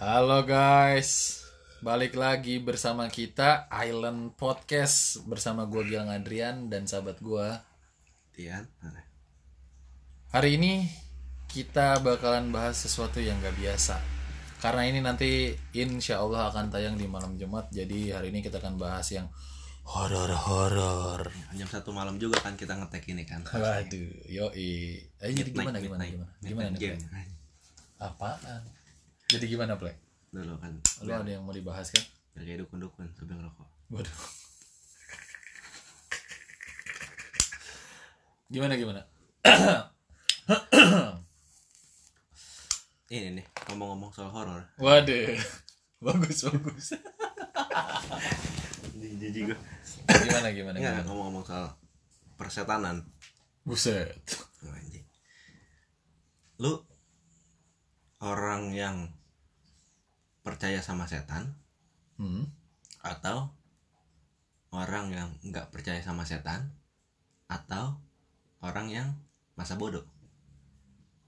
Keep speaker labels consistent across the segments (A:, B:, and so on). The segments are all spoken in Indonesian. A: Halo guys, balik lagi bersama kita Island Podcast bersama gue Gilang Adrian dan sahabat gue.
B: Tian mana?
A: Hari ini kita bakalan bahas sesuatu yang gak biasa. Karena ini nanti insya Allah akan tayang di malam Jumat, jadi hari ini kita akan bahas yang horor-horor.
B: Jam satu malam juga kan kita ngetek ini kan.
A: Waduh, yoi. Eh, jadi gimana
B: Midnight,
A: gimana
B: midnight.
A: gimana? Gimana
B: Midnight
A: nih, Play?
B: game.
A: Apaan? Jadi gimana play?
B: Dulu kan.
A: Lu ada yang mau dibahas kan?
B: Biar kayak dukun-dukun sambil ngerokok.
A: Waduh. Gimana gimana?
B: Ini nih, ngomong-ngomong soal horor.
A: Waduh. Bagus bagus.
B: Jijik gue.
A: Gimana gimana?
B: Enggak,
A: gimana?
B: ngomong-ngomong soal persetanan.
A: Buset.
B: Oh, Anjing. Lu orang yang percaya sama setan
A: Hmm.
B: atau orang yang nggak percaya sama setan atau orang yang masa bodoh?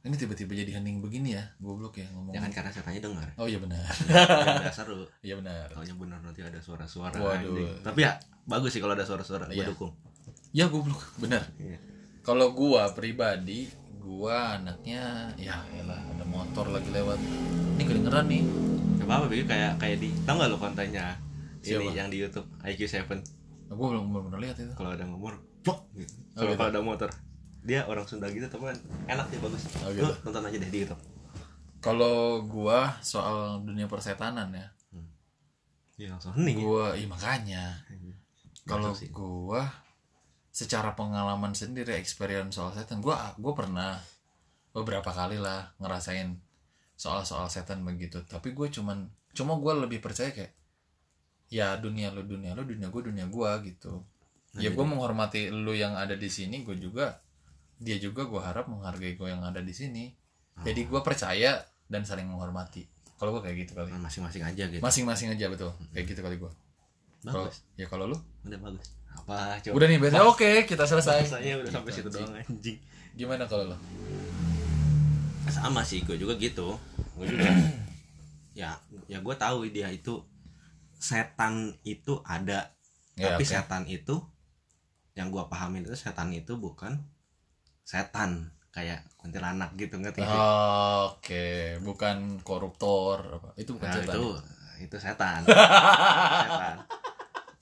A: Ini tiba-tiba jadi hening begini ya, goblok ya ngomong.
B: Ya kan karena setannya dengar.
A: Oh iya benar.
B: Udah seru.
A: Iya benar.
B: Taunya bener nanti ada suara-suara
A: Waduh.
B: anjing. Tapi ya bagus sih kalau ada suara-suara Gua
A: Iya.
B: dukung
A: Ya goblok, benar.
B: Iya.
A: Kalau gua pribadi, gua anaknya ya elah ada motor lagi lewat. Ini kedengeran nih.
B: Gak apa-apa Bego. kayak kayak di Tau gak lo kontennya Sini
A: Siapa?
B: yang di Youtube IQ7
A: Nah, gua belum belum pernah lihat itu.
B: Kalau ada ngomor plok gitu. Kalau
A: gitu.
B: kalau ada motor Dia orang Sunda gitu tapi kan enak dia bagus
A: Oh,
B: Lu
A: gitu.
B: nonton aja deh di Youtube
A: Kalau gua soal dunia persetanan ya.
B: Iya langsung hening ya.
A: gua iya makanya kalau
B: sih.
A: gua secara pengalaman sendiri experience soal setan gua gua pernah beberapa kali lah ngerasain soal-soal setan begitu tapi gue cuman cuma gua lebih percaya kayak ya dunia lu dunia lu dunia gue dunia gua gitu
B: Nah,
A: ya gua menghormati lu yang ada di sini gue juga dia juga gua harap menghargai gue yang ada di sini
B: Ah.
A: jadi gua percaya dan saling menghormati kalau gua kayak gitu kali
B: Masing-masing aja gitu
A: masing-masing aja betul kayak gitu kali gua kalau
B: Bagus
A: ya kalau lu
B: Udah bagus Apa coba
A: udah nih berarti oke kita selesai
B: Saya udah
A: Gitu,
B: sampai situ
A: anjing.
B: doang anjing
A: gimana kalau lu
B: sama sih gue juga gitu gue juga ya ya gue tahu dia itu setan itu ada
A: Ya,
B: tapi
A: oke.
B: setan itu yang gue pahamin itu setan itu bukan setan kayak kuntilanak gitu ngerti nggak sih?
A: Ah, oke bukan koruptor apa itu bukan
B: nah,
A: setan
B: itu
A: ya?
B: itu setan setan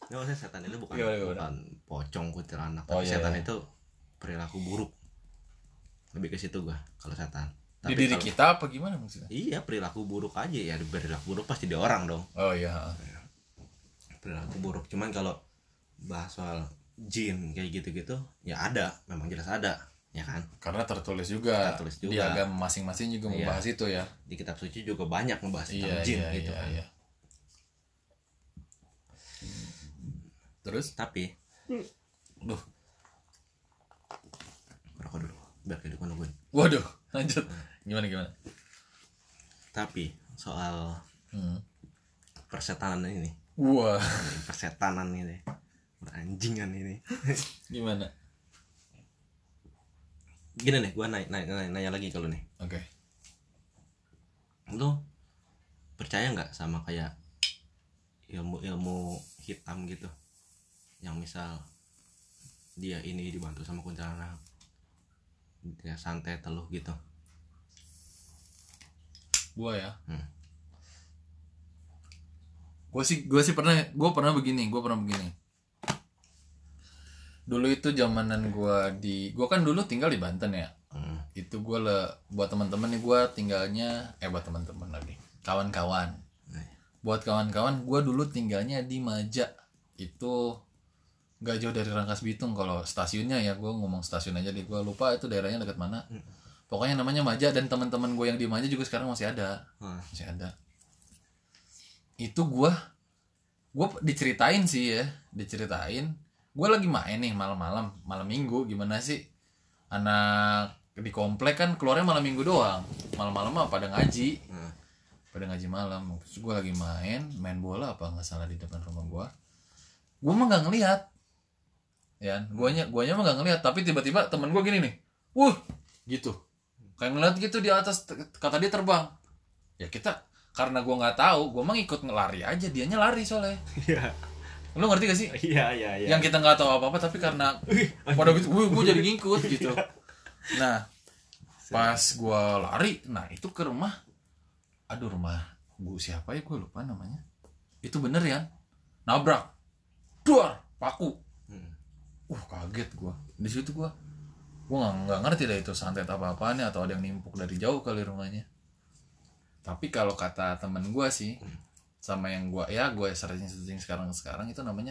B: Nggak, maksudnya setan itu bukan,
A: Gimana, gimana?
B: bukan pocong kuntilanak
A: Oh,
B: tapi
A: iya,
B: setan
A: iya.
B: itu perilaku buruk lebih ke situ gue kalau setan
A: di
B: tapi
A: diri
B: kalau-
A: kita apa gimana maksudnya
B: iya perilaku buruk aja ya perilaku buruk pasti di orang dong
A: oh iya
B: perilaku buruk cuman kalau bahas soal jin kayak gitu-gitu ya ada memang jelas ada ya kan
A: karena tertulis juga,
B: Tertulis
A: di
B: juga.
A: agama masing-masing juga
B: Iya.
A: membahas itu ya
B: di kitab suci juga banyak membahas tentang
A: iya
B: jin
A: iya
B: gitu
A: iya,
B: kan
A: iya. terus
B: tapi
A: Duh.
B: rokok dulu biar kayak dukun dukun
A: waduh lanjut gimana gimana
B: tapi soal
A: hmm.
B: persetanan ini
A: wah
B: persetanan ini anjingan ini
A: gimana
B: gini nih gua naik naik naik nanya lagi kalau nih
A: oke
B: lu percaya nggak sama kayak ilmu ilmu hitam gitu yang misal dia ini dibantu sama kuntilanak dia santai teluh gitu
A: gua ya
B: Hmm.
A: gue sih gue sih pernah gue pernah begini gue pernah begini dulu itu zamanan gue di gue kan dulu tinggal di Banten ya
B: Hmm.
A: itu gue le buat teman-teman nih gue tinggalnya eh buat teman-teman lagi kawan-kawan buat kawan-kawan gue dulu tinggalnya di Maja itu nggak jauh dari Rangkas Bitung kalau stasiunnya ya gue ngomong stasiun aja deh gue lupa itu daerahnya dekat mana
B: Hmm.
A: pokoknya namanya Maja dan teman-teman gue yang di Maja juga sekarang masih ada
B: Nah,
A: masih ada itu gua gua diceritain sih ya diceritain gua lagi main nih malam-malam malam minggu gimana sih anak di komplek kan keluarnya malam minggu doang malam-malam mah pada ngaji
B: nah,
A: pada ngaji malam terus gue lagi main main bola apa nggak salah di depan rumah gua gua mah nggak ngelihat ya guanya guanya mah nggak ngelihat tapi tiba-tiba temen gua gini nih wuh gitu kayak ngeliat gitu di atas t- kata dia terbang ya kita karena gue nggak tahu gue mah ikut ngelari aja dianya lari soalnya
B: Iya.
A: lu ngerti gak sih
B: Iya, iya, iya.
A: yang kita nggak tahu apa apa tapi karena pada gitu gue gue jadi ngikut
B: Iya.
A: gitu nah pas gue lari nah itu ke rumah aduh rumah bu siapa ya gue lupa namanya itu bener ya nabrak duar paku
B: Hmm.
A: uh kaget gue di situ gue gue nggak nggak ngerti deh itu santet apa apaannya atau ada yang nimpuk dari jauh kali rumahnya tapi kalau kata temen gue sih
B: Hmm.
A: sama yang gue ya gue searching searching sekarang sekarang itu namanya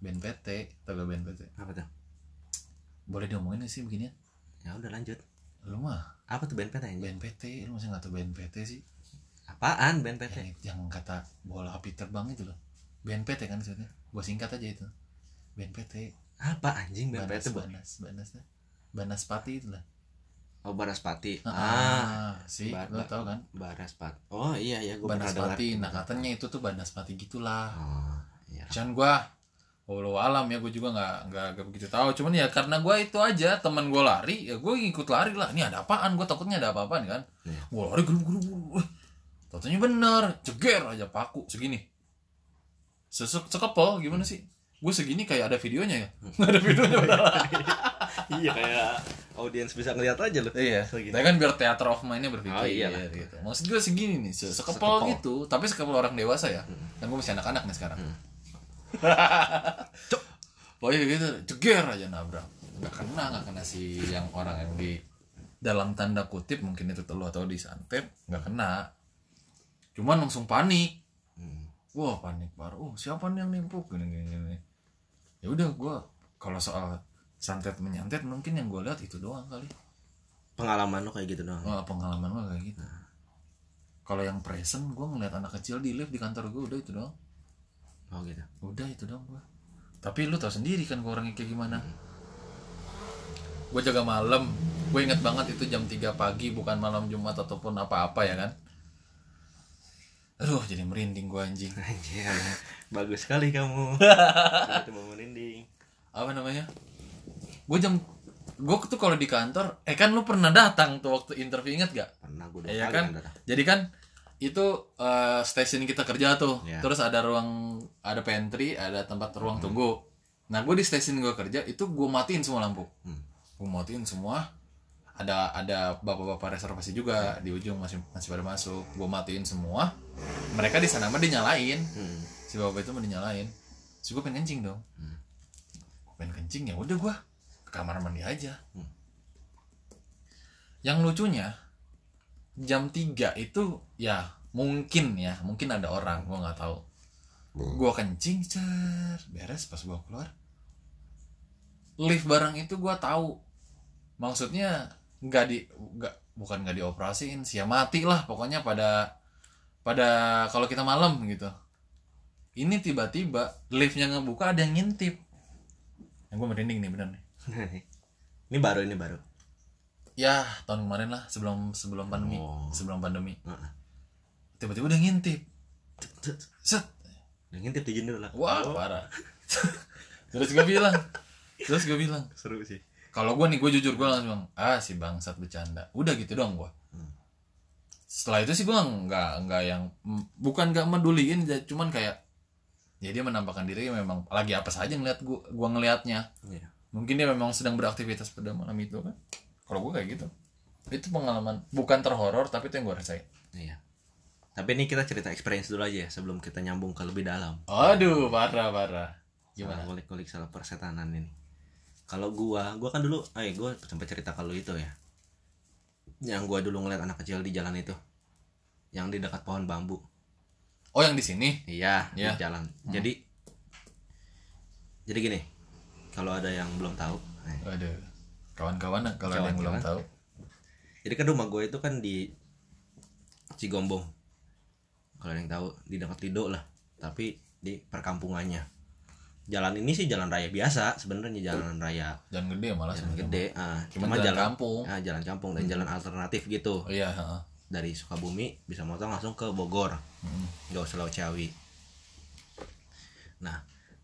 A: BNPT atau gak BNPT
B: Apa tuh?
A: boleh diomongin gak sih beginian
B: Ya udah lanjut.
A: lu mah
B: Apa tuh BNPT anjing?
A: BNPT lu masih nggak tau BNPT sih
B: Apaan ya? BNPT?
A: yang, yang kata bola api terbang itu loh BNPT kan maksudnya gue singkat aja itu BNPT
B: Apa anjing
A: Banas
B: BNPT, Bu?
A: Banas Banas Banaspati itu lah
B: Oh, Baraspati. Ah,
A: ah, sih
B: Ba-
A: lu
B: ba-
A: tau kan
B: Baraspat. Oh, iya iya gua pernah dengar.
A: Banaspati nah katanya itu tuh Banaspati gitulah
B: Oh, iya.
A: cuman gue Walau alam ya gue juga nggak nggak nggak begitu tahu cuman ya karena gue itu aja teman gue lari ya gue ngikut lari lah ini ada apaan gue takutnya ada apa-apaan kan
B: Iya.
A: gue lari gerup gerup gerup. Eh, Taunya bener ceger aja paku segini sesek sekepel gimana sih gue segini kayak ada videonya ya nggak ada videonya padahal.
B: iya kayak audiens bisa ngeliat aja loh.
A: Iya,
B: Segini.
A: tapi kan biar teater of mind-nya berpikir
B: Oh, iyalah.
A: gitu. Maksud gue segini nih, se- sekepol,
B: Sekepol.
A: gitu, tapi sekepol orang dewasa ya. Kan gue masih anak-anak nih sekarang. Cuk. Pokoknya gitu, ceger aja nabrak. Gak kena, gak kena si yang orang yang di dalam tanda kutip mungkin itu telur atau disantet, gak kena. Cuman langsung panik.
B: Hmm.
A: Wah panik baru. Oh siapa nih yang nimpuk gini gini. gini. Ya udah gue kalau soal santet menyantet mungkin yang gue lihat itu doang kali.
B: Pengalaman lo kayak gitu doang.
A: Wah, pengalaman gue kayak gitu. Kalau yang present, gue ngeliat anak kecil di lift di kantor gue udah itu doang.
B: Oh gitu.
A: Udah itu doang gue. Tapi lu tau sendiri kan gue orangnya kayak gimana. Gue jaga malam. Gue inget banget itu jam 3 pagi bukan malam Jumat ataupun apa-apa ya kan. Aduh jadi merinding gue anjing.
B: Anjir. Bagus sekali kamu. Itu mau merinding.
A: Apa namanya? Gue jam gue tuh kalau di kantor, eh kan lu pernah datang tuh waktu interview inget gak?
B: Pernah gue dua
A: Iya
B: kali
A: kan?
B: yang datang.
A: Jadi kan itu eh, station kita kerja tuh.
B: Iya. Hmm.
A: Terus ada ruang ada pantry, ada tempat ruang tunggu. Nah, gue di station gue kerja itu gue matiin semua lampu.
B: Hmm.
A: Gue matiin semua. Ada ada bapak-bapak reservasi
B: Hmm.
A: juga di ujung masih masih pada masuk. Gue matiin semua. Mereka di sana mah dinyalain.
B: Hmm.
A: Si bapak itu mau dinyalain. Terus gue pengen kencing dong.
B: Hmm.
A: Gua pengen kencing ya udah gue ke kamar mandi aja.
B: Hmm.
A: Yang lucunya jam 3 itu ya mungkin ya mungkin ada orang gua nggak tahu gua kencing cer beres pas gua keluar lift barang itu gua tahu maksudnya nggak di nggak bukan nggak dioperasiin sih ya mati lah pokoknya pada pada kalau kita malam gitu ini tiba-tiba liftnya ngebuka ada yang ngintip yang gue merinding nih bener nih
B: ini baru ini baru.
A: ya tahun kemarin lah sebelum sebelum pandemi
B: Oh.
A: sebelum pandemi
B: Heeh.
A: tiba-tiba udah ngintip set
B: Udah ngintip di jendela lah.
A: wah parah terus gue bilang terus gue bilang
B: Oh, Seru sih.
A: kalau gue nih gue jujur gue langsung bilang, ah si bangsat bercanda udah gitu doang gue
B: Hmm.
A: setelah itu sih gue nggak nggak yang m- bukan nggak meduliin ja- cuman kayak ya dia menampakkan diri memang lagi apa saja ngeliat gue gue ngelihatnya
B: Iya.
A: mungkin dia memang sedang beraktivitas pada malam itu kan kalau gue kayak gitu itu pengalaman bukan terhoror tapi itu yang gue rasain
B: Iya. Tapi ini kita cerita experience dulu aja ya sebelum kita nyambung ke lebih dalam.
A: aduh parah parah
B: Gimana?
A: gimana
B: Kulik-kulik salah persetanan ini. Kalau gua, gua kan dulu, eh gua sempat cerita kalau itu ya. Yang gua dulu ngeliat anak kecil di jalan itu. Yang di dekat pohon bambu.
A: oh yang di sini
B: Iya, di
A: Iya.
B: jalan. Jadi Jadi gini. Kalau ada yang belum tahu, eh,
A: aduh kawan-kawan kalau ada yang belum
B: Kawan-kawan.
A: tahu
B: Jadi kan rumah gue itu kan di Cigombong. Kalau ada yang tahu di dekat Lido lah, tapi di perkampungannya. Jalan ini sih jalan raya biasa, sebenarnya jalan raya
A: jangan gede ya, malah
B: jalan
A: sebenarnya.
B: gede, ah,
A: Cuman
B: cuma
A: jalan
B: jalan
A: kampung. Hmm.
B: ah, jalan kampung dan jalan alternatif gitu.
A: oh iya heeh.
B: Dari Sukabumi bisa motong langsung ke Bogor,
A: Mm.
B: nggak usah lewat Ciawi. Nah,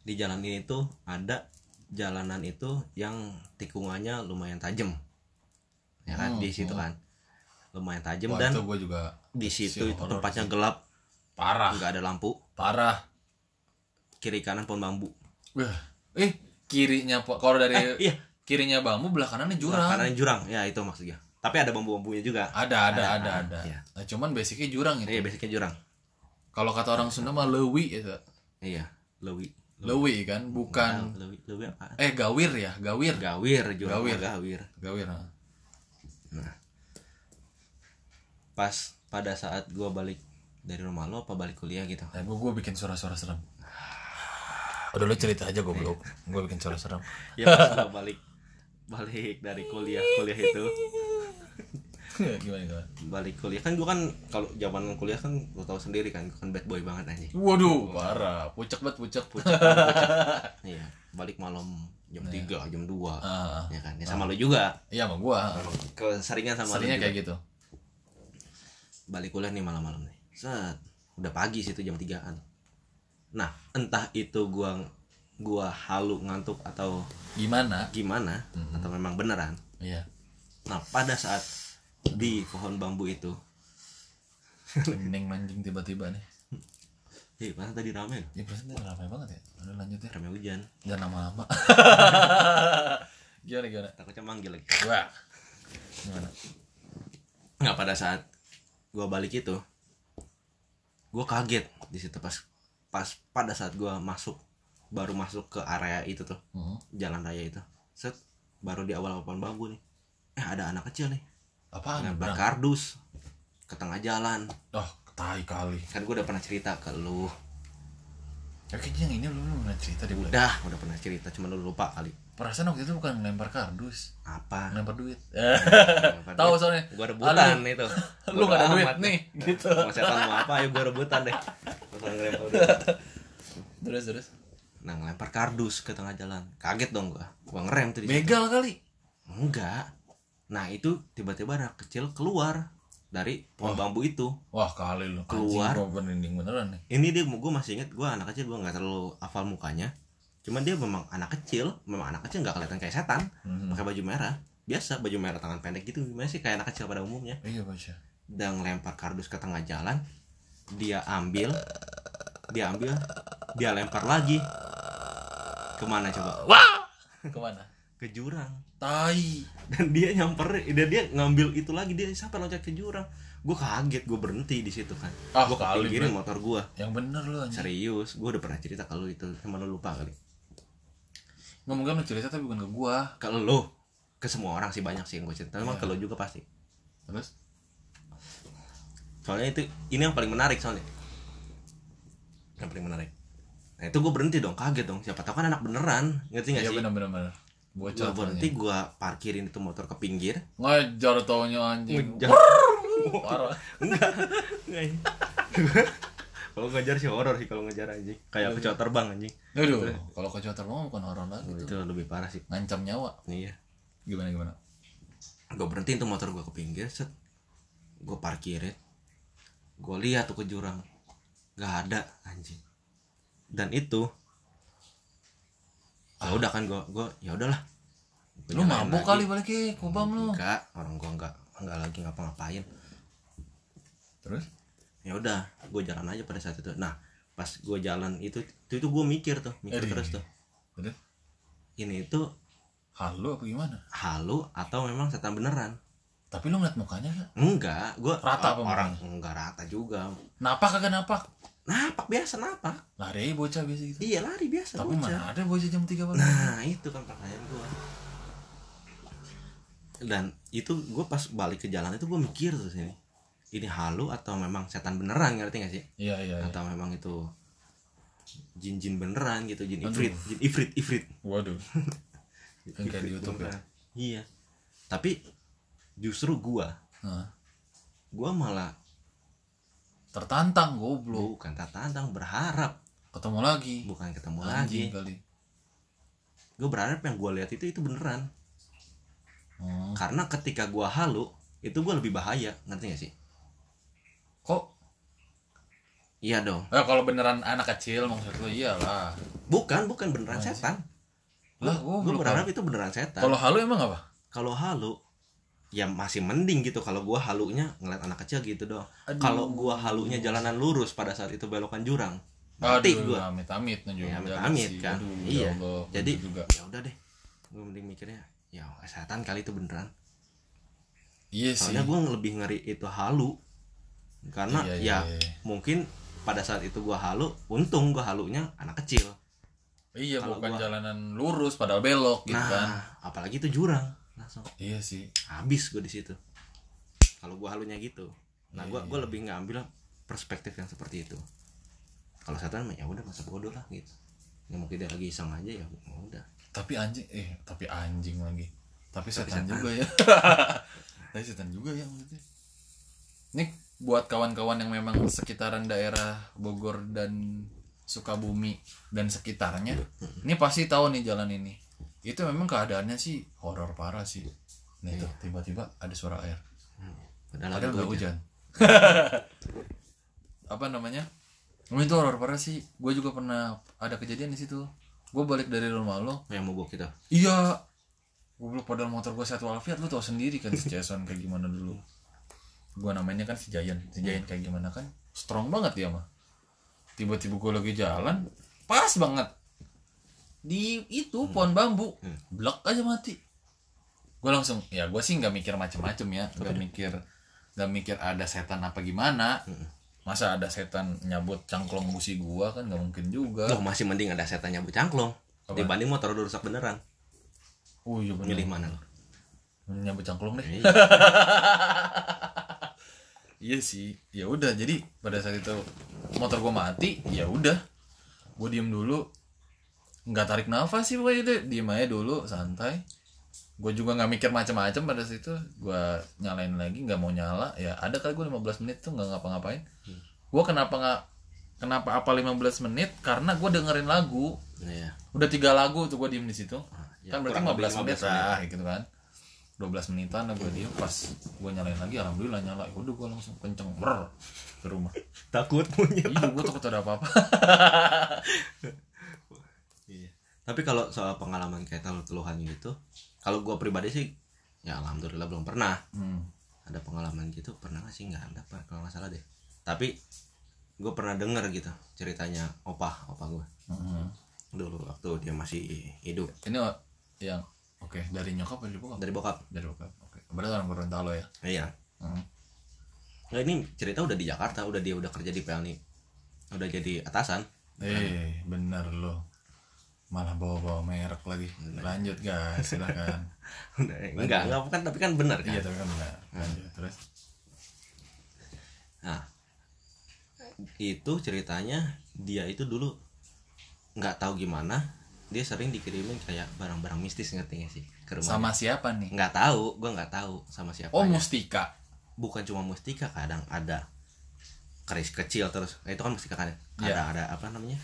B: di jalan ini tuh ada jalanan itu yang tikungannya lumayan tajam, ya kan
A: Hmm,
B: di situ kan, lumayan tajam
A: Wah,
B: dan
A: itu gue juga
B: di situ
A: Sih,
B: itu
A: horor
B: tempatnya gelap
A: parah
B: nggak ada lampu
A: parah
B: kiri kanan pohon bambu
A: Wah. eh kirinya po- kalau dari
B: eh, iya
A: kirinya bambu belah kanannya jurang
B: Nah, kanan jurang ya itu maksudnya tapi ada bambu bambunya juga
A: ada ada ada
B: ah,
A: ada,
B: iya.
A: Nah, cuman basicnya jurang itu
B: iya basicnya jurang
A: kalau kata orang Sunda mah lewi itu
B: iya lewi Iya.
A: lewi kan bukan
B: lewi lewi apa
A: eh gawir ya gawir
B: gawir jurang
A: Gawir.
B: gawir, gawir.
A: gawir ah.
B: Nah, pas pada saat gua balik dari rumah lo apa balik kuliah gitu?
A: Nah, gue gue bikin suara-suara serem. Udah lu cerita aja goblok.
B: Iya.
A: Gue bikin suara serem.
B: Ya pas gua balik balik dari kuliah kuliah itu
A: gimana gimana?
B: balik kuliah kan gua kan kalau zaman kuliah kan lo tau sendiri kan gua kan bad boy banget aja.
A: Waduh, parah. Pucek banget pucek.
B: Iya balik malam jam 3, jam 2
A: Ah, ah.
B: ya kan ya sama lo juga
A: Iya sama gua.
B: keseringan sama lo
A: Seringnya
B: juga.
A: kayak gitu.
B: balik kuliah nih malam-malam nih set udah pagi situ jam 3an nah entah itu gua gua halu ngantuk atau
A: Gimana?
B: gimana atau memang beneran
A: Iya.
B: nah pada saat di pohon bambu itu
A: Neng mancing tiba-tiba nih.
B: Ih, mana tadi rame loh
A: Ya perasaan tadi ramai banget ya. Udah lanjut ya.
B: rame hujan
A: Jangan lama-lama. gimana gimana?
B: takutnya manggil lagi
A: Wah. Gimana?
B: nggak pada saat gua balik itu gua kaget di situ pas pas pada saat gua masuk baru masuk ke area itu tuh
A: Hmm.
B: jalan raya itu set baru di awal pohon bambu nih eh ada anak kecil nih
A: Apaan?
B: nabrak
A: Berang.
B: kardus ke tengah jalan
A: Oh, tai kali.
B: kan gue udah pernah cerita ke lu
A: Ya, kayaknya yang ini lu belum pernah cerita deh. Udah.
B: udah udah pernah cerita cuma lu lupa kali
A: Perasaan waktu itu bukan lempar kardus,
B: apa
A: lempar duit.
B: Lempar
A: Tahu
B: duit.
A: soalnya.
B: gua rebutan
A: Aduh,
B: itu
A: Lu
B: Bodo
A: gak ada duit
B: amat.
A: nih, gitu.
B: mau setan mau apa ayo gua rebutan deh Gua ngelempar duit.
A: Terus terus.
B: nah ngelempar kardus ke tengah jalan kaget dong gua gua ngerem tuh di situ.
A: Begal kali.
B: enggak nah itu tiba-tiba anak kecil keluar dari pohon bambu itu
A: Wah kali lu
B: Keluar.
A: Anjing, gua merinding beneran nih.
B: ini dia gue masih inget gue anak kecil gue nggak terlalu hafal mukanya cuman dia memang anak kecil memang anak kecil nggak kelihatan kayak setan
A: Mhm.
B: pakai baju merah biasa baju merah tangan pendek gitu gimana sih kayak anak kecil pada umumnya
A: Iya baca.
B: dan lempar kardus ke tengah jalan dia ambil dia ambil dia lempar lagi kemana coba
A: Wah. Kemana?
B: ke jurang
A: Tai.
B: dan dia nyamper dan dia ngambil itu lagi dia sampai loncat ke jurang gue kaget gue berhenti di situ kan
A: Ah,
B: gue
A: kali,
B: kepinggirin motor gue
A: Yang bener lu anjing.
B: serius gue udah pernah cerita kalau itu emang lu lupa kali
A: Ngomongin lu cerita tapi bukan ke gua.
B: kalau lo ke semua orang sih banyak sih yang gue cerita emang
A: Iya.
B: kalau juga pasti
A: Terus
B: soalnya itu ini yang paling menarik soalnya yang paling menarik nah itu gue berhenti dong kaget dong siapa tahu kan anak beneran ngerti nggak
A: Iya
B: sih
A: bener bener bener.
B: gue
A: Bocor.
B: berhenti gue parkirin itu motor ke pinggir
A: anjing. Ngejar taunya anjing.
B: Ngejar.
A: Parah.
B: kalau ngejar sih horor sih kalau ngejar anjing
A: Iya,
B: kayak kecoa terbang anjing
A: Aduh, kalau kau coba terbang bukan horor lagi tuh.
B: itu lebih parah sih
A: Ngancam nyawa.
B: iya
A: Gimana gimana?
B: gue berhentiin tuh motor gue ke pinggir set gue parkirin gue lihat tuh ke jurang nggak ada anjing dan itu ah udah kan gue gue ya udahlah Gua
A: Lu
B: nyalain
A: mabuk
B: lagi.
A: kali balik ke kubam lu.
B: enggak orang gue enggak enggak lagi ngapa-ngapain
A: Terus?
B: ya udah gue jalan aja pada saat itu nah pas gue jalan itu itu, itu gue mikir tuh mikir
A: Aduh.
B: terus tuh
A: Eh, Terus?
B: ini itu
A: Halo apa gimana?
B: halu atau memang setan beneran
A: Tapi lu ngeliat mukanya gak?
B: enggak gue
A: Rata apa
B: orang enggak rata juga
A: Napak kagak napak?
B: napak biasa napak
A: Lari bocah biasa gitu.
B: Iya lari biasa
A: Tapi
B: bocah.
A: mana ada bocah jam 3 pagi?
B: Nah itu kan pertanyaan gua Dan itu gua pas balik ke jalan itu gua mikir terus ini Ini halu atau memang setan beneran ngerti gak sih?
A: Iya iya iya.
B: Atau memang itu jin-jin beneran gitu Jin
A: Aduh.
B: ifrit, jin ifrit, ifrit
A: Waduh. Kan kayak
B: Ifrit
A: di YouTube ya?
B: beneran. Iya Tapi justru gua
A: Hah.
B: Gua malah
A: Tertantang goblok.
B: bukan tantang berharap
A: Ketemu lagi.
B: Bukan ketemu lagi
A: Anjing kali.
B: Gua berharap yang gua lihat itu itu beneran
A: Hmm.
B: karena ketika gua halu itu gua lebih bahaya ngerti gak sih
A: Kok?
B: iya dong
A: Eh, kalau beneran anak kecil maksud lu iyalah.
B: bukan bukan beneran setan
A: Lah,
B: Gua
A: goblok.
B: berharap itu beneran setan
A: Kalau halu emang apa?
B: kalau halu ya masih mending gitu kalau gua halunya ngeliat anak kecil gitu doang
A: Aduh.
B: kalau gua halunya jalanan lurus pada saat itu belokan jurang mati
A: Aduh,
B: gua
A: amit-amit nunjuk
B: Ya,
A: jalan
B: amit-amit,
A: sih.
B: kan.
A: Aduh,
B: Iya.
A: ya Allah,
B: Jadi,
A: bener juga.
B: ya udah deh gue mending mikirnya ya kesehatan kali itu beneran
A: Iya sih.
B: soalnya gue lebih ngeri itu halu karena
A: Iya,
B: ya
A: iya, iya.
B: mungkin pada saat itu gue halu untung gue halunya anak kecil
A: Iya,
B: kalau
A: bukan
B: gua-
A: jalanan lurus padahal belok gitu
B: nah
A: kan.
B: apalagi itu jurang langsung
A: Iya sih.
B: habis gue di situ kalau gue halunya gitu nah
A: Iya,
B: gue
A: iya,
B: gue lebih ngambil perspektif yang seperti itu kalau setan mah ya udah masa bodoh lah gitu ya mau kita lagi iseng aja ya udah
A: Tapi anjing eh tapi anjing lagi. Tapi setan
B: setan.
A: juga ya. tapi setan juga ya maksudnya. Nih buat kawan-kawan yang memang sekitaran daerah Bogor dan Sukabumi dan sekitarnya, ini pasti tahu nih jalan ini. Itu memang keadaannya sih horor parah sih. Nah
B: Iya.
A: itu tiba-tiba ada suara air.
B: padahal,
A: Padahal
B: lagi hujan.
A: nggak hujan. Apa namanya? Emang itu horor parah sih. Gue juga pernah ada kejadian di situ. Gue balik dari rumah lo.
B: yang mogok kita
A: Iya. Gue belum padahal motor gue satu alfiat. Lo tau sendiri kan si Jason kayak gimana dulu. Gue namanya kan si Jayan. Si Jayan kayak gimana kan. Strong banget dia mah. Tiba-tiba gue lagi jalan. Pas banget. Di itu pohon bambu.
B: Hmm.
A: Blok aja mati gue langsung ya gue sih nggak mikir macem-macem ya nggak mikir nggak mikir ada setan apa gimana masa ada setan nyabut cangklong busi gue kan nggak mungkin juga
B: Loh masih mending ada setan nyabut cangklong
A: Apa?
B: Dibanding motor udah rusak beneran
A: oh iya bener.
B: Milih mana lo?
A: nyabut cangklong deh
B: Iya.
A: iya sih ya udah jadi pada saat itu motor gue mati ya udah gue diem dulu nggak tarik nafas sih pokoknya itu diem aja dulu santai gue juga nggak mikir macam-macam pada situ gue nyalain lagi nggak mau nyala ya ada kali gue 15 menit tuh nggak ngapa-ngapain gue kenapa nggak kenapa apa 15 menit karena gue dengerin lagu
B: Iya.
A: udah tiga lagu tuh gue diem di situ
B: ya,
A: kan berarti
B: kurang lebih
A: 15 menit
B: 15 menit.
A: lah gitu kan 12 menitan lah gue diem pas gue nyalain lagi alhamdulillah nyala Ya udah gue langsung kenceng brr ke rumah
B: Takut punya
A: iya gue takut ada apa-apa
B: Iya. Tapi kalau soal pengalaman kayak teluhan gitu Kalau gua pribadi sih Ya alhamdulillah belum pernah
A: hmm.
B: Ada pengalaman gitu Pernah gak sih? Gak ada Pak, kalau gak salah deh Tapi Gue pernah denger gitu Ceritanya opa Opa gue
A: Mhm.
B: Dulu waktu dia masih hidup
A: ini yang oke dari nyokap dari bokap
B: Dari bokap
A: dari bokap oke berarti orang Gorontalo ya
B: Iya
A: hmm.
B: Nah ini cerita udah di Jakarta Udah dia udah kerja di Pelni Udah jadi atasan
A: eh bener lo malah bawa-bawa merek lagi lanjut guys silahkan
B: Udah, enggak, enggak bukan tapi kan benar kan.
A: iya tapi kan benar lanjut terus
B: Nah, itu ceritanya dia itu dulu nggak tahu gimana dia sering dikirimin kayak barang-barang mistis ngerti nggak sih ke rumah
A: sama siapa nih
B: nggak tahu gua nggak tahu sama siapa
A: oh mustika
B: bukan cuma mustika kadang ada keris kecil terus nah, itu kan mustika kan
A: Iya.
B: kadang ada apa namanya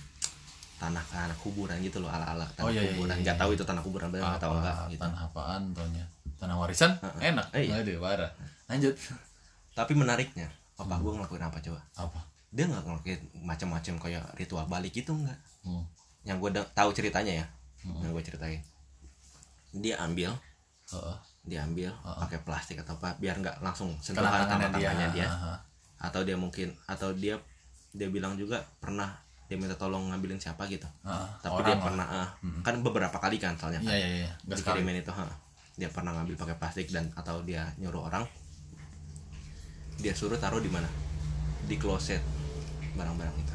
B: tanah tanah kuburan gitu loh ala ala tanah
A: Oh, iya, iya,
B: kuburan
A: iya,
B: nggak
A: iya.
B: tahu itu tanah kuburan bener nggak tahu enggak
A: Apa,
B: gitu.
A: tanah apaan tonya tanah warisan enak
B: Eh, iya.
A: Aduh, parah lanjut
B: tapi menariknya papa
A: Hmm.
B: gua ngelakuin apa coba
A: apa
B: dia nggak ngelakuin macam-macam kayak ritual balik gitu nggak
A: hmm.
B: yang gue tahu ceritanya ya yang gue ceritain dia ambil
A: heeh.
B: diambil pakai plastik atau apa biar nggak langsung
A: Kena
B: sentuhan
A: tangannya
B: tangan tangannya
A: dia.
B: dia ya?
A: Aha.
B: atau dia mungkin atau dia dia bilang juga pernah dia minta tolong ngambilin siapa gitu
A: Ah,
B: tapi
A: orang
B: dia
A: lah. Mm-hmm.
B: pernah ah, kan beberapa kali kan soalnya
A: iya
B: kan,
A: iya iya nggak sekali
B: dikirimin itu ha. dia pernah ngambil pakai plastik dan atau dia nyuruh orang dia suruh taruh di mana di kloset barang-barang itu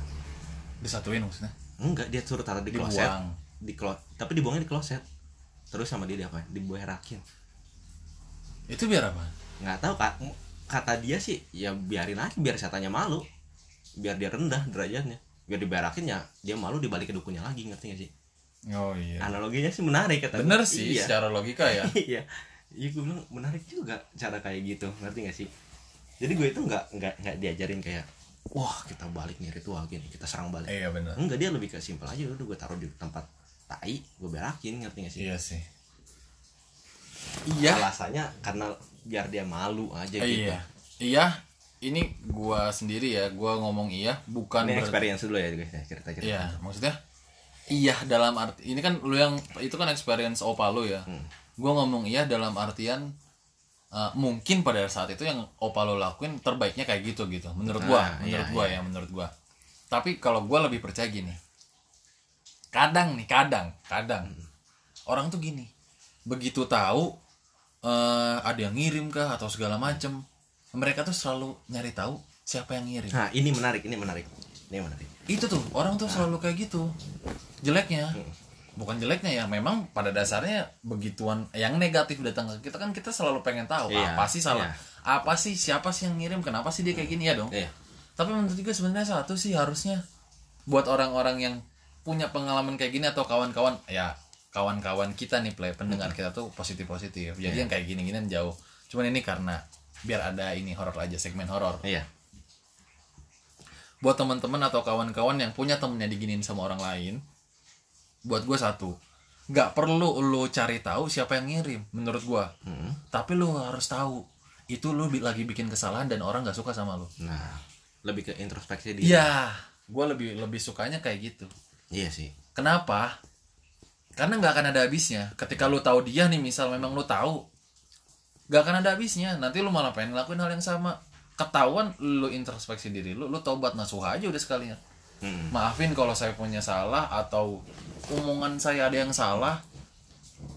A: disatuin maksudnya
B: enggak dia suruh taruh di kloset
A: Dibuang.
B: di klo tapi dibuangnya di kloset terus sama dia apa diberakin
A: itu biar apa
B: nggak tahu kak kata dia sih ya biarin aja biar setannya malu biar dia rendah derajatnya biar diberakin ya dia malu dibalik ke dukunnya lagi ngerti gak sih
A: oh iya
B: analoginya sih menarik kata
A: bener
B: gua.
A: sih
B: iya
A: secara logika ya
B: iya iya gue bilang menarik juga cara kayak gitu ngerti gak sih jadi gue itu nggak nggak nggak diajarin kayak wah kita balik nih ritual gini kita serang balik
A: iya bener
B: enggak dia lebih ke simpel aja udah gue taruh di tempat tai gue berakin ngerti gak sih
A: iya sih iya
B: alasannya karena biar dia malu aja gitu
A: iya iya ini gua sendiri ya gua ngomong iya bukan
B: ini
A: berarti
B: experience dulu ya guys ya, cerita cerita
A: Iya, maksudnya iya dalam arti
B: Hmm.
A: ini kan lu yang itu kan experience opa lu ya. Gua ngomong iya dalam artian eh, mungkin pada saat itu yang opa lo lakuin terbaiknya kayak gitu gitu menurut gua
B: Ah,
A: menurut
B: iya,
A: gua ya menurut gua tapi kalau gua lebih percaya gini kadang nih kadang kadang
B: Hmm.
A: orang tuh gini begitu tahu eh ada yang ngirim kah atau segala macem mereka tuh selalu nyari tahu siapa yang ngirim
B: Nah, ini menarik, ini menarik. Ini menarik.
A: itu tuh orang tuh selalu kayak gitu jeleknya bukan jeleknya ya memang pada dasarnya begituan yang negatif datang ke kita kan kita selalu pengen tahu
B: Iya,
A: apa sih salah
B: iya.
A: apa sih siapa sih yang ngirim kenapa sih dia kayak gini ya dong
B: Iya.
A: tapi menurut gue sebenarnya satu sih harusnya buat orang-orang yang punya pengalaman kayak gini atau kawan-kawan ya kawan-kawan kita nih play pendengar kita tuh positif positif jadi
B: Iya.
A: yang kayak gini ginian jauh cuman ini karena biar ada ini horor aja segmen horor
B: Iya.
A: buat teman-teman atau kawan-kawan yang punya temennya diginiin sama orang lain buat gue satu nggak perlu lo cari tahu siapa yang ngirim menurut gue
B: Mm.
A: tapi lo harus tahu itu lo bi- lagi bikin kesalahan dan orang nggak suka sama lo
B: Nah, lebih ke introspeksi diri.
A: iya gue lebih lebih sukanya kayak gitu
B: Iya sih.
A: kenapa karena nggak akan ada habisnya ketika lo tahu dia nih misal memang lo tahu nggak akan ada habisnya nanti lo malah pengen ngelakuin hal yang sama ketahuan lo introspeksi diri lo lo tobat nasuha aja udah sekalian
B: Mm.
A: maafin kalau saya punya salah atau omongan saya ada yang salah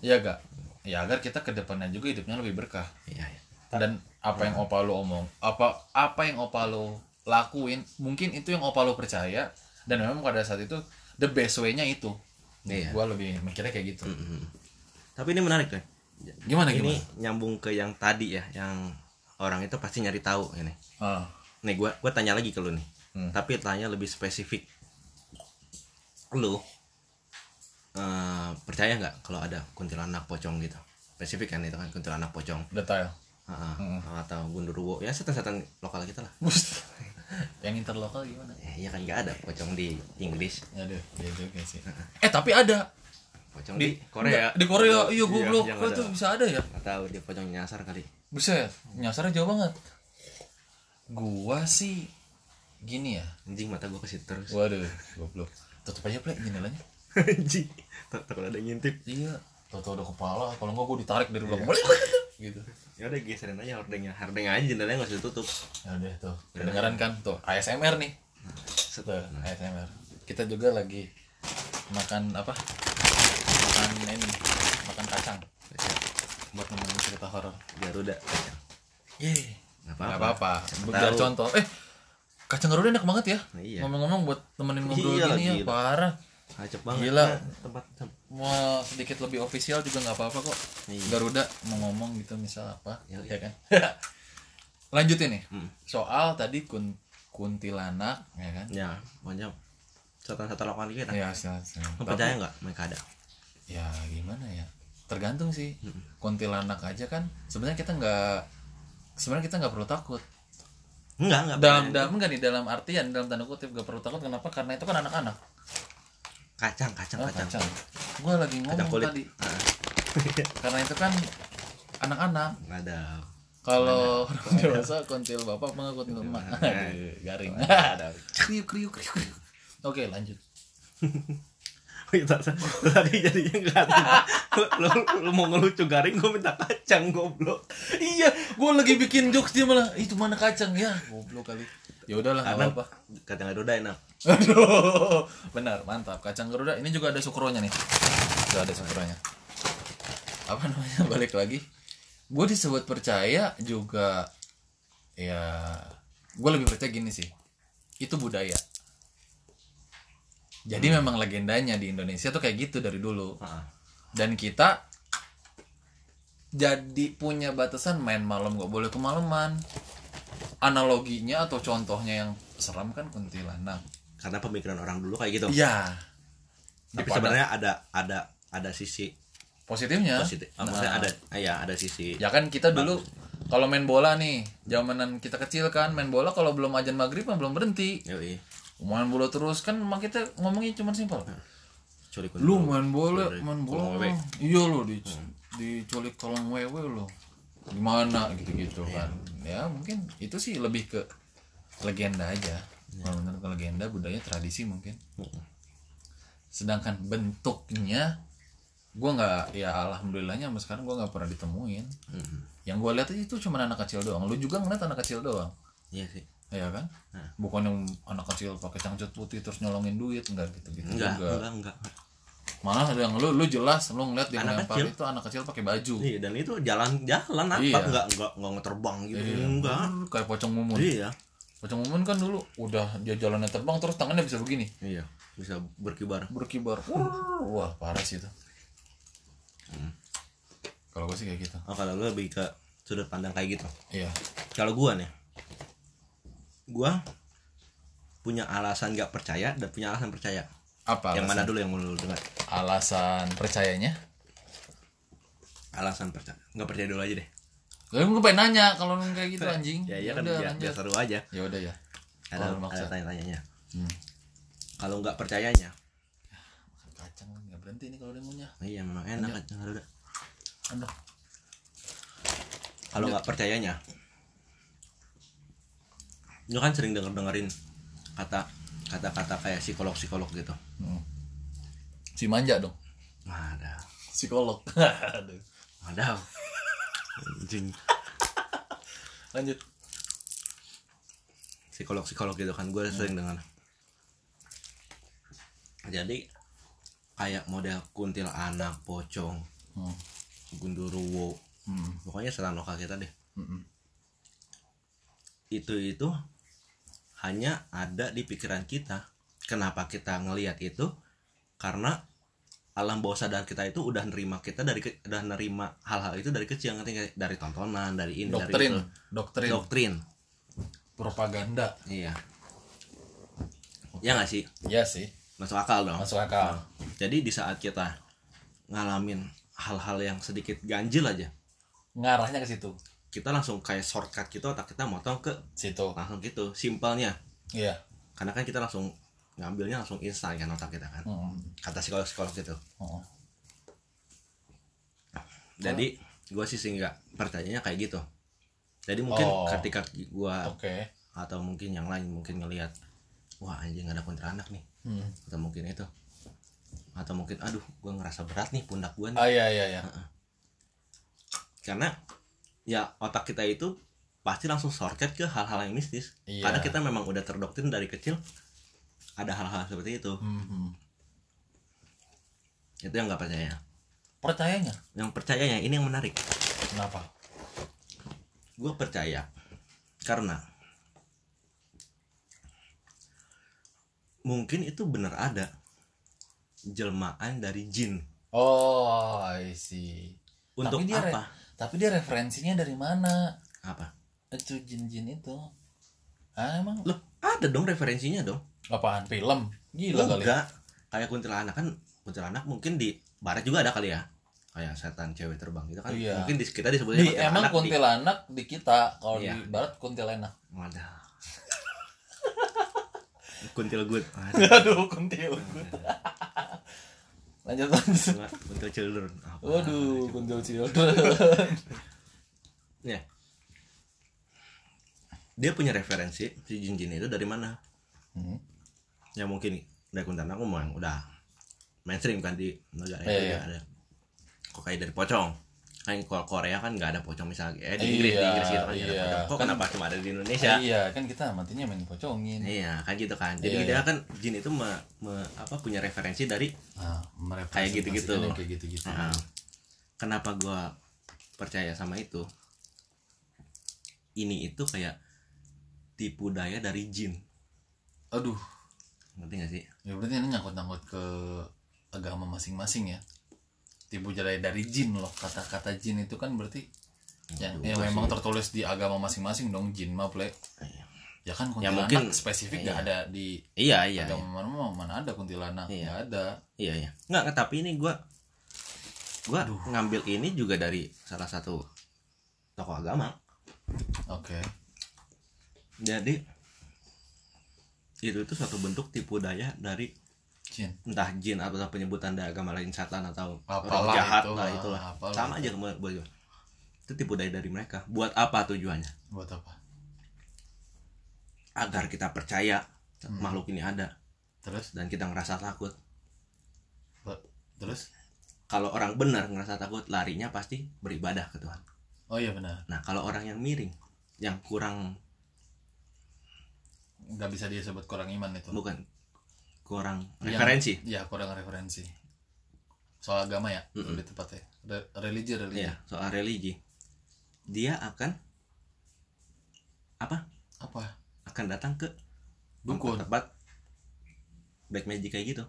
A: ya gak ya agar kita ke depannya juga hidupnya lebih berkah
B: Iya, iya.
A: dan apa yang opa lo omong apa apa yang opa lo lakuin mungkin itu yang opa lo percaya dan memang pada saat itu the best way-nya itu
B: Iya.
A: gua lebih mikirnya kayak gitu
B: Mm. Tapi ini menarik, deh.
A: gimana
B: Ini
A: Nah, gimana
B: nyambung ke yang tadi ya, yang orang itu pasti nyari tahu ini.
A: Ah,
B: Nih gua gua tanya lagi ke lu nih.
A: Hmm.
B: Tapi tanya lebih spesifik. Lu eh, percaya nggak kalau ada kuntilanak pocong gitu? Spesifik kan itu kan kuntilanak pocong
A: detail
B: Heeh.
A: Hmm.
B: atau gundurwo ya setan-setan lokal kita lah.
A: Bust. yang interlokal gimana
B: Eh, iya kan nggak ada pocong di Inggris,
A: aduh ya juga sih eh tapi ada
B: pocong di, Korea.
A: di Korea iya
B: gue
A: goblok kok tuh bisa ada ya
B: tahu dia pocong nyasar kali.
A: Buset, nyasarnya jauh banget. Gua sih gini ya.
B: Anjing mata gua ke situ terus.
A: Waduh, goblok. Tutup aja plek jendelanya.
B: Anjing. Tak takut ada yang ngintip.
A: Iya, tahu-tahu ada kepala, kalau enggak gua ditarik dari
B: Iya.
A: belakang. gitu.
B: Ya udah geserin aja hordengnya. Hordeng aja jendelanya nggak usah ditutup.
A: Ya udah tuh, kedengaran kan tuh ASMR nih. Tuh,
B: Hmm.
A: ASMR. Kita juga lagi makan apa? Makan ini, makan kacang
B: Iya.
A: buat nemenin cerita horor.
B: Garuda.
A: Yeay.
B: Nggak
A: Gak
B: apa-apa.
A: apa-apa,
B: Siapa
A: biar
B: tahu.
A: contoh. Eh, kacang garuda enak banget ya.
B: Iya.
A: Ngomong-ngomong buat temenin ngobrol
B: Iya,
A: gini ya,
B: gila.
A: parah.
B: Acep banget.
A: Gila.
B: Nah, tempat tempat.
A: Mau sedikit lebih official juga nggak apa-apa kok.
B: Iya.
A: Garuda mau ngomong gitu misal apa,
B: Iya,
A: ya kan. Lanjutin nih.
B: Hmm.
A: Soal tadi kun kuntilanak ya kan.
B: Ya, pokoknya setan-setan lokal kita.
A: Ya, silakan,
B: Lu
A: silakan. Tapi-
B: percaya nggak mereka ada?
A: ya gimana ya tergantung sih
B: Hmm.
A: kuntilanak aja kan sebenarnya kita nggak sebenarnya kita nggak perlu takut
B: Enggak, enggak.
A: dalam dalam enggak nih dalam artian dalam tanda kutip nggak perlu takut kenapa karena itu kan anak-anak
B: Kacang, kacang,
A: Oh,
B: kacang.
A: kacang. Gua lagi
B: Kacang
A: ngomong
B: kulit.
A: tadi.
B: Ah,
A: Karena itu kan anak-anak.
B: nggak ada.
A: Kalau orang dewasa kontil bapak apa kontil emak? Aduh, garing. kriuk kriuk kriuk. kriuk. Oke, lanjut.
B: Kita tadi jadinya nggak ada. Lu, lu, lu mau ngelucu garing, gue minta kacang goblok.
A: Iya, gua lagi bikin jokes dia malah itu mana kacang ya? Goblok kali. Ya udahlah,
B: Karena
A: enggak apa-apa.
B: kacang Garuda enak.
A: Aduh, benar, mantap. Kacang Garuda ini juga ada sukronya nih. Sudah ada sukronya. Apa namanya? Balik lagi. Gue disebut percaya juga ya gue lebih percaya gini sih. Itu budaya. Jadi memang legendanya di Indonesia tuh kayak gitu dari dulu.
B: Ah,
A: Dan kita jadi punya batasan main malam nggak boleh kemalaman. Analoginya atau contohnya yang seram kan kuntilanak.
B: Karena pemikiran orang dulu kayak gitu.
A: Iya.
B: Tapi
A: Apa ada
B: sebenarnya ada ada ada sisi
A: positifnya. Nah,
B: positif. Ah, Maksudnya ada ah, ya ada sisi.
A: Ya kan kita dulu kalau main bola nih, zamanan kita kecil kan main bola kalau belum ajan maghrib kan belum berhenti.
B: Yoi.
A: Main bola terus kan emang kita ngomongnya cuma simpel.
B: Culik
A: Lu main bola, main
B: kolong
A: bola.
B: wewe.
A: Iya lu di diculik tolong wewe lu. Gimana gitu-gitu kan. Ya mungkin itu sih lebih ke legenda aja. Kalau menurut ke legenda budaya tradisi mungkin. sedangkan bentuknya gue nggak ya alhamdulillahnya sampai sekarang gue nggak pernah ditemuin
B: Mm-mm.
A: yang gue lihat aja itu cuma anak kecil doang lu juga ngeliat anak kecil doang
B: iya sih
A: ya kan
B: Nah.
A: bukan yang anak kecil pakai cangcut putih terus nyolongin duit enggak gitu gitu
B: enggak
A: juga
B: enggak enggak
A: malah yang lu lu jelas lu ngeliat dia
B: Anak
A: melempar
B: kecil.
A: itu anak kecil pakai baju
B: iya dan itu jalan jalan apa
A: Iya.
B: enggak enggak enggak ngeterbang gitu
A: Iya,
B: enggak
A: bener, kayak pocong mumun
B: iya
A: pocong mumun kan dulu udah dia jalannya terbang terus tangannya bisa begini
B: iya bisa berkibar
A: berkibar Wur, wah parah sih itu
B: Hmm.
A: kalau gue sih kayak gitu
B: oh, kalau lu lebih ke sudut pandang kayak gitu
A: iya
B: kalau gua nih gua punya alasan nggak percaya dan punya alasan percaya
A: apa
B: yang mana
A: alasan,
B: dulu yang mau lu dengar
A: alasan percayanya
B: alasan percaya nggak percaya dulu aja deh
A: Lalu gue Ya, pengen nanya kalau lu kayak gitu anjing
B: ya iya kan
A: Yaudah,
B: biar,
A: lanjut.
B: biar seru aja
A: ya udah ya
B: ada
A: Oh,
B: ada
A: maksa.
B: tanya-tanyanya
A: Hmm.
B: kalau nggak percayanya
A: Makan kacang kan nggak berhenti nih kalau dia ngunyah
B: iya memang enak kan Nggak ada.
A: aduh
B: kalau nggak percayanya lu kan sering denger dengerin kata kata kata kayak psikolog psikolog gitu
A: Hmm. si manja dong
B: ada
A: psikolog aduh
B: ada anjing
A: lanjut
B: psikolog psikolog gitu kan gue sering
A: Hmm.
B: dengar jadi kayak model kuntil anak pocong
A: hmm.
B: gundurwo
A: Hmm.
B: pokoknya setan lokal kita deh
A: Mm-mm.
B: itu itu hanya ada di pikiran kita kenapa kita ngelihat itu karena alam bawah sadar kita itu udah nerima kita dari ke- udah nerima hal-hal itu dari kecil ngerti nggak? dari tontonan dari ini
A: doktrin
B: dari itu.
A: doktrin
B: doktrin
A: propaganda
B: iya ya nggak sih
A: ya sih
B: masuk akal dong
A: masuk akal
B: Jadi di saat kita ngalamin hal-hal yang sedikit ganjil aja,
A: ngarahnya ke situ
B: kita langsung kayak shortcut gitu otak kita motong ke
A: situ
B: langsung gitu, simpelnya.
A: iya
B: Karena kan kita langsung ngambilnya langsung instan kan otak kita kan.
A: Mm-mm.
B: Kata psikolog-psikolog gitu.
A: Mm-mm.
B: Jadi
A: Hmm.
B: gua sih sih nggak percayanya kayak gitu. Jadi mungkin
A: Oh.
B: ketika gua
A: oke
B: atau mungkin yang lain mungkin ngelihat wah anjing ada kuntilanak nih
A: Hmm.
B: atau mungkin itu atau mungkin aduh gua ngerasa berat nih pundak gua nih
A: ah iya iya iya
B: karena ya otak kita itu pasti langsung shortcut ke hal-hal yang mistis
A: Iya.
B: karena kita memang udah terdoktrin dari kecil ada hal-hal seperti itu
A: Mhm.
B: itu yang nggak percaya
A: percayanya
B: yang percayanya ini yang menarik
A: kenapa
B: gue percaya karena mungkin itu bener ada jelmaan dari jin
A: oh I see
B: untuk
A: Tapi dia re-
B: apa
A: tapi dia referensinya dari mana
B: apa
A: itu jin-jin itu ah emang
B: loh ada dong referensinya dong
A: apaan film gila kali ya?
B: enggak kayak kuntilanak kan kuntilanak mungkin di barat juga ada kali ya kayak setan cewek terbang gitu kan
A: Iya.
B: mungkin di kita disebutnya
A: di emang kuntilanak di kita kalau
B: Iya.
A: di barat kuntilanak
B: di, ada kuntil good
A: aduh kuntil lanjut lanjut
B: kuntil children Ah, Apa? Nah, gitu.
A: waduh kuntil cilik
B: ya dia punya referensi si jin jin itu dari mana
A: Hmm.
B: ya mungkin dari kuntilanak memang udah mainstream kan di negara
A: Iya,
B: itu
A: iya.
B: juga ada kok kayak dari pocong kan kalau Korea kan nggak ada pocong misalnya eh di Inggris di
A: Iya,
B: Inggris gitu kan nggak ada
A: iya.
B: pocong kok
A: Kan-
B: kenapa cuma ada di Indonesia
A: iya kan kita matinya main pocongin
B: iya kan gitu kan jadi
A: Iya,
B: dia
A: iya.
B: kan jin itu me- me- apa punya referensi dari
A: nah, merepresentasikan
B: Kayak gitu-gitu.
A: yang kayak gitu gitu
B: "Ah, kenapa gua percaya sama itu ini itu kayak tipu daya dari jin
A: aduh
B: ngerti gak sih
A: ya berarti ini nyangkut nyangkut ke agama masing-masing ya tipu daya dari jin loh kata-kata jin itu kan berarti ya,
B: Aduh,
A: ya
B: gua
A: memang
B: Nah, sih-
A: tertulis di agama masing-masing dong jin mah play ya kan
B: Ya,
A: kuntilanak
B: mungkin-
A: spesifik
B: iya.
A: nggak ada di
B: iya iya iya.
A: agama mana mana, mana ada kuntilanak
B: Iya.
A: nggak ada
B: Iya iya. Nggak, tapi ini gua gua ngambil ini juga dari salah satu tokoh agama.
A: oke
B: Jadi itu itu suatu bentuk tipu daya dari
A: jin
B: entah jin atau penyebutan dari agama lain setan atau roh
A: Apalah
B: jahat
A: itu,
B: lah itulah.
A: apalah
B: Sama aja
A: itu.
B: kemarin buat gua. Itu tipu daya dari mereka. Buat apa tujuannya?
A: buat apa
B: Agar kita percaya
A: Hmm.
B: makhluk ini ada
A: terus
B: dan kita ngerasa takut.
A: Ba- terus
B: kalau orang benar ngerasa takut larinya pasti beribadah ke Tuhan
A: oh iya benar
B: nah kalau orang yang miring yang kurang
A: nggak bisa dia sebut kurang iman itu
B: bukan kurang
A: Yang-
B: referensi
A: ya kurang referensi soal agama ya
B: Mm-mm.
A: lebih tepatnya Re- religi religi
B: ya soal religi dia akan apa
A: apa
B: akan datang ke
A: dukun
B: tempat black magic kayak gitu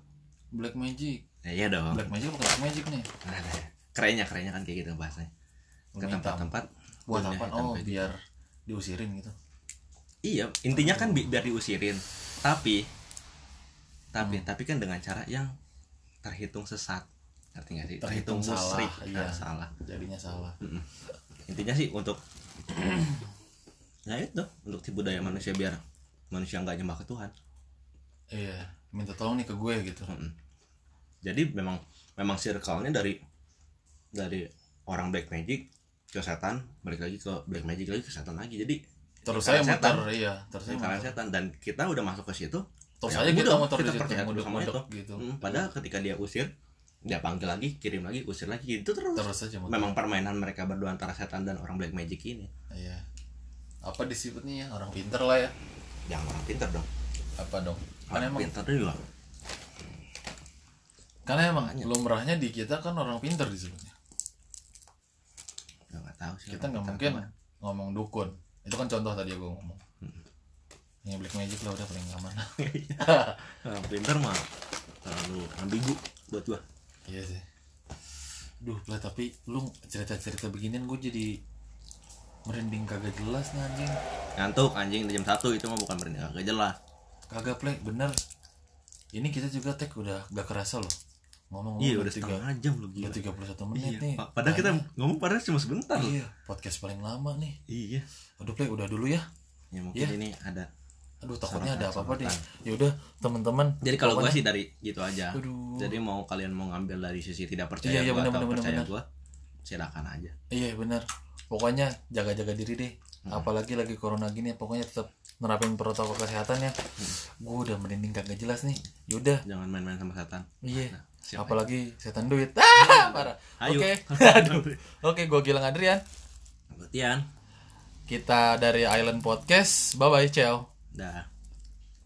A: black magic
B: ya iya dong
A: black magic bukan black magic nih
B: Nah, nah, kerennya kerennya kan kayak gitu bahasanya ke
A: Bumi hitam.
B: tempat-tempat
A: buat
B: dunia
A: apa
B: hitam
A: oh
B: kayak gitu.
A: biar diusirin gitu
B: iya intinya kan bi- biar diusirin tapi
A: Hmm.
B: tapi tapi kan dengan cara yang terhitung sesat ngerti nggak sih
A: Terhitung salah,
B: musyrik,
A: iya.
B: nah, salah
A: jadinya salah
B: Mm. intinya sih untuk nah itu untuk tipu daya manusia biar manusia nggak nyembah ke Tuhan
A: iya minta tolong nih ke gue gitu
B: Mm-mm. jadi memang memang circle-nya dari dari orang black magic ke setan balik lagi ke black magic lagi ke setan lagi jadi
A: terus saya
B: Karena
A: muter
B: setan.
A: iya terus saya
B: lingkaran
A: muter
B: setan dan kita udah masuk ke situ
A: terus
B: Ya
A: saya
B: udah,
A: kita muter
B: kita
A: di situ
B: percaya dulu sama
A: mudok-mudok gitu
B: Hmm, padahal ketika dia usir dia panggil lagi kirim lagi usir lagi gitu terus,
A: terus aja muter
B: memang permainan mereka berdua antara setan dan orang black magic ini
A: iya apa disebutnya ya orang pinter lah ya
B: yang orang pintar dong
A: apa dong kan
B: orang
A: emang
B: pintar dulu lah
A: karena emang lumrahnya di kita kan orang pinter disebutnya
B: nggak tahu sih orang
A: kita nggak
B: pintar
A: mungkin ngomong dukun itu kan contoh tadi gue ngomong
B: Hmm.
A: yang black magic lah udah paling aman
B: kemana. orang pintar Nah, mah terlalu ambigu buat gua
A: iya sih duh lah tapi lu cerita-cerita beginian gue jadi merinding kagak jelas nih anjing
B: ngantuk anjing jam satu itu mah bukan berani agak jelas
A: kagak play bener ini kita juga tag udah gak kerasa loh ngomong
B: iya udah setengah jam lu
A: udah
B: gila
A: 31 menit
B: iya,
A: nih
B: pa- padahal kita
A: Tanya.
B: ngomong padahal cuma sebentar loh
A: iya podcast paling lama nih
B: iya
A: aduh play udah dulu ya
B: ya mungkin
A: Iya.
B: ini ada
A: aduh takutnya
B: Sorotan,
A: ada apa-apa deh
B: sorotan.
A: ya udah teman-teman
B: Jadi kalau gua sih dari gitu aja.
A: Aduh.
B: Jadi mau kalian mau ngambil dari sisi tidak percaya
A: Iya, iya,
B: gua
A: bener,
B: atau
A: bener,
B: percaya
A: bener,
B: gua, silakan aja.
A: Iya benar. Pokoknya jaga-jaga diri deh.
B: Hmm.
A: Apalagi lagi corona gini, ya, pokoknya tetap nerapin protokol kesehatan ya.
B: Hmm.
A: Gue udah merinding kagak jelas nih. Yaudah,
B: Jangan main-main sama setan.
A: iya.
B: Nah, siapa Nah,
A: Apalagi setan duit. Ah, parah.
B: Ayo.
A: Oke. Aduh. Oke, gue Gilang Adrian.
B: Betian.
A: Kita dari Island Podcast. Bye bye, ciao.
B: Dah.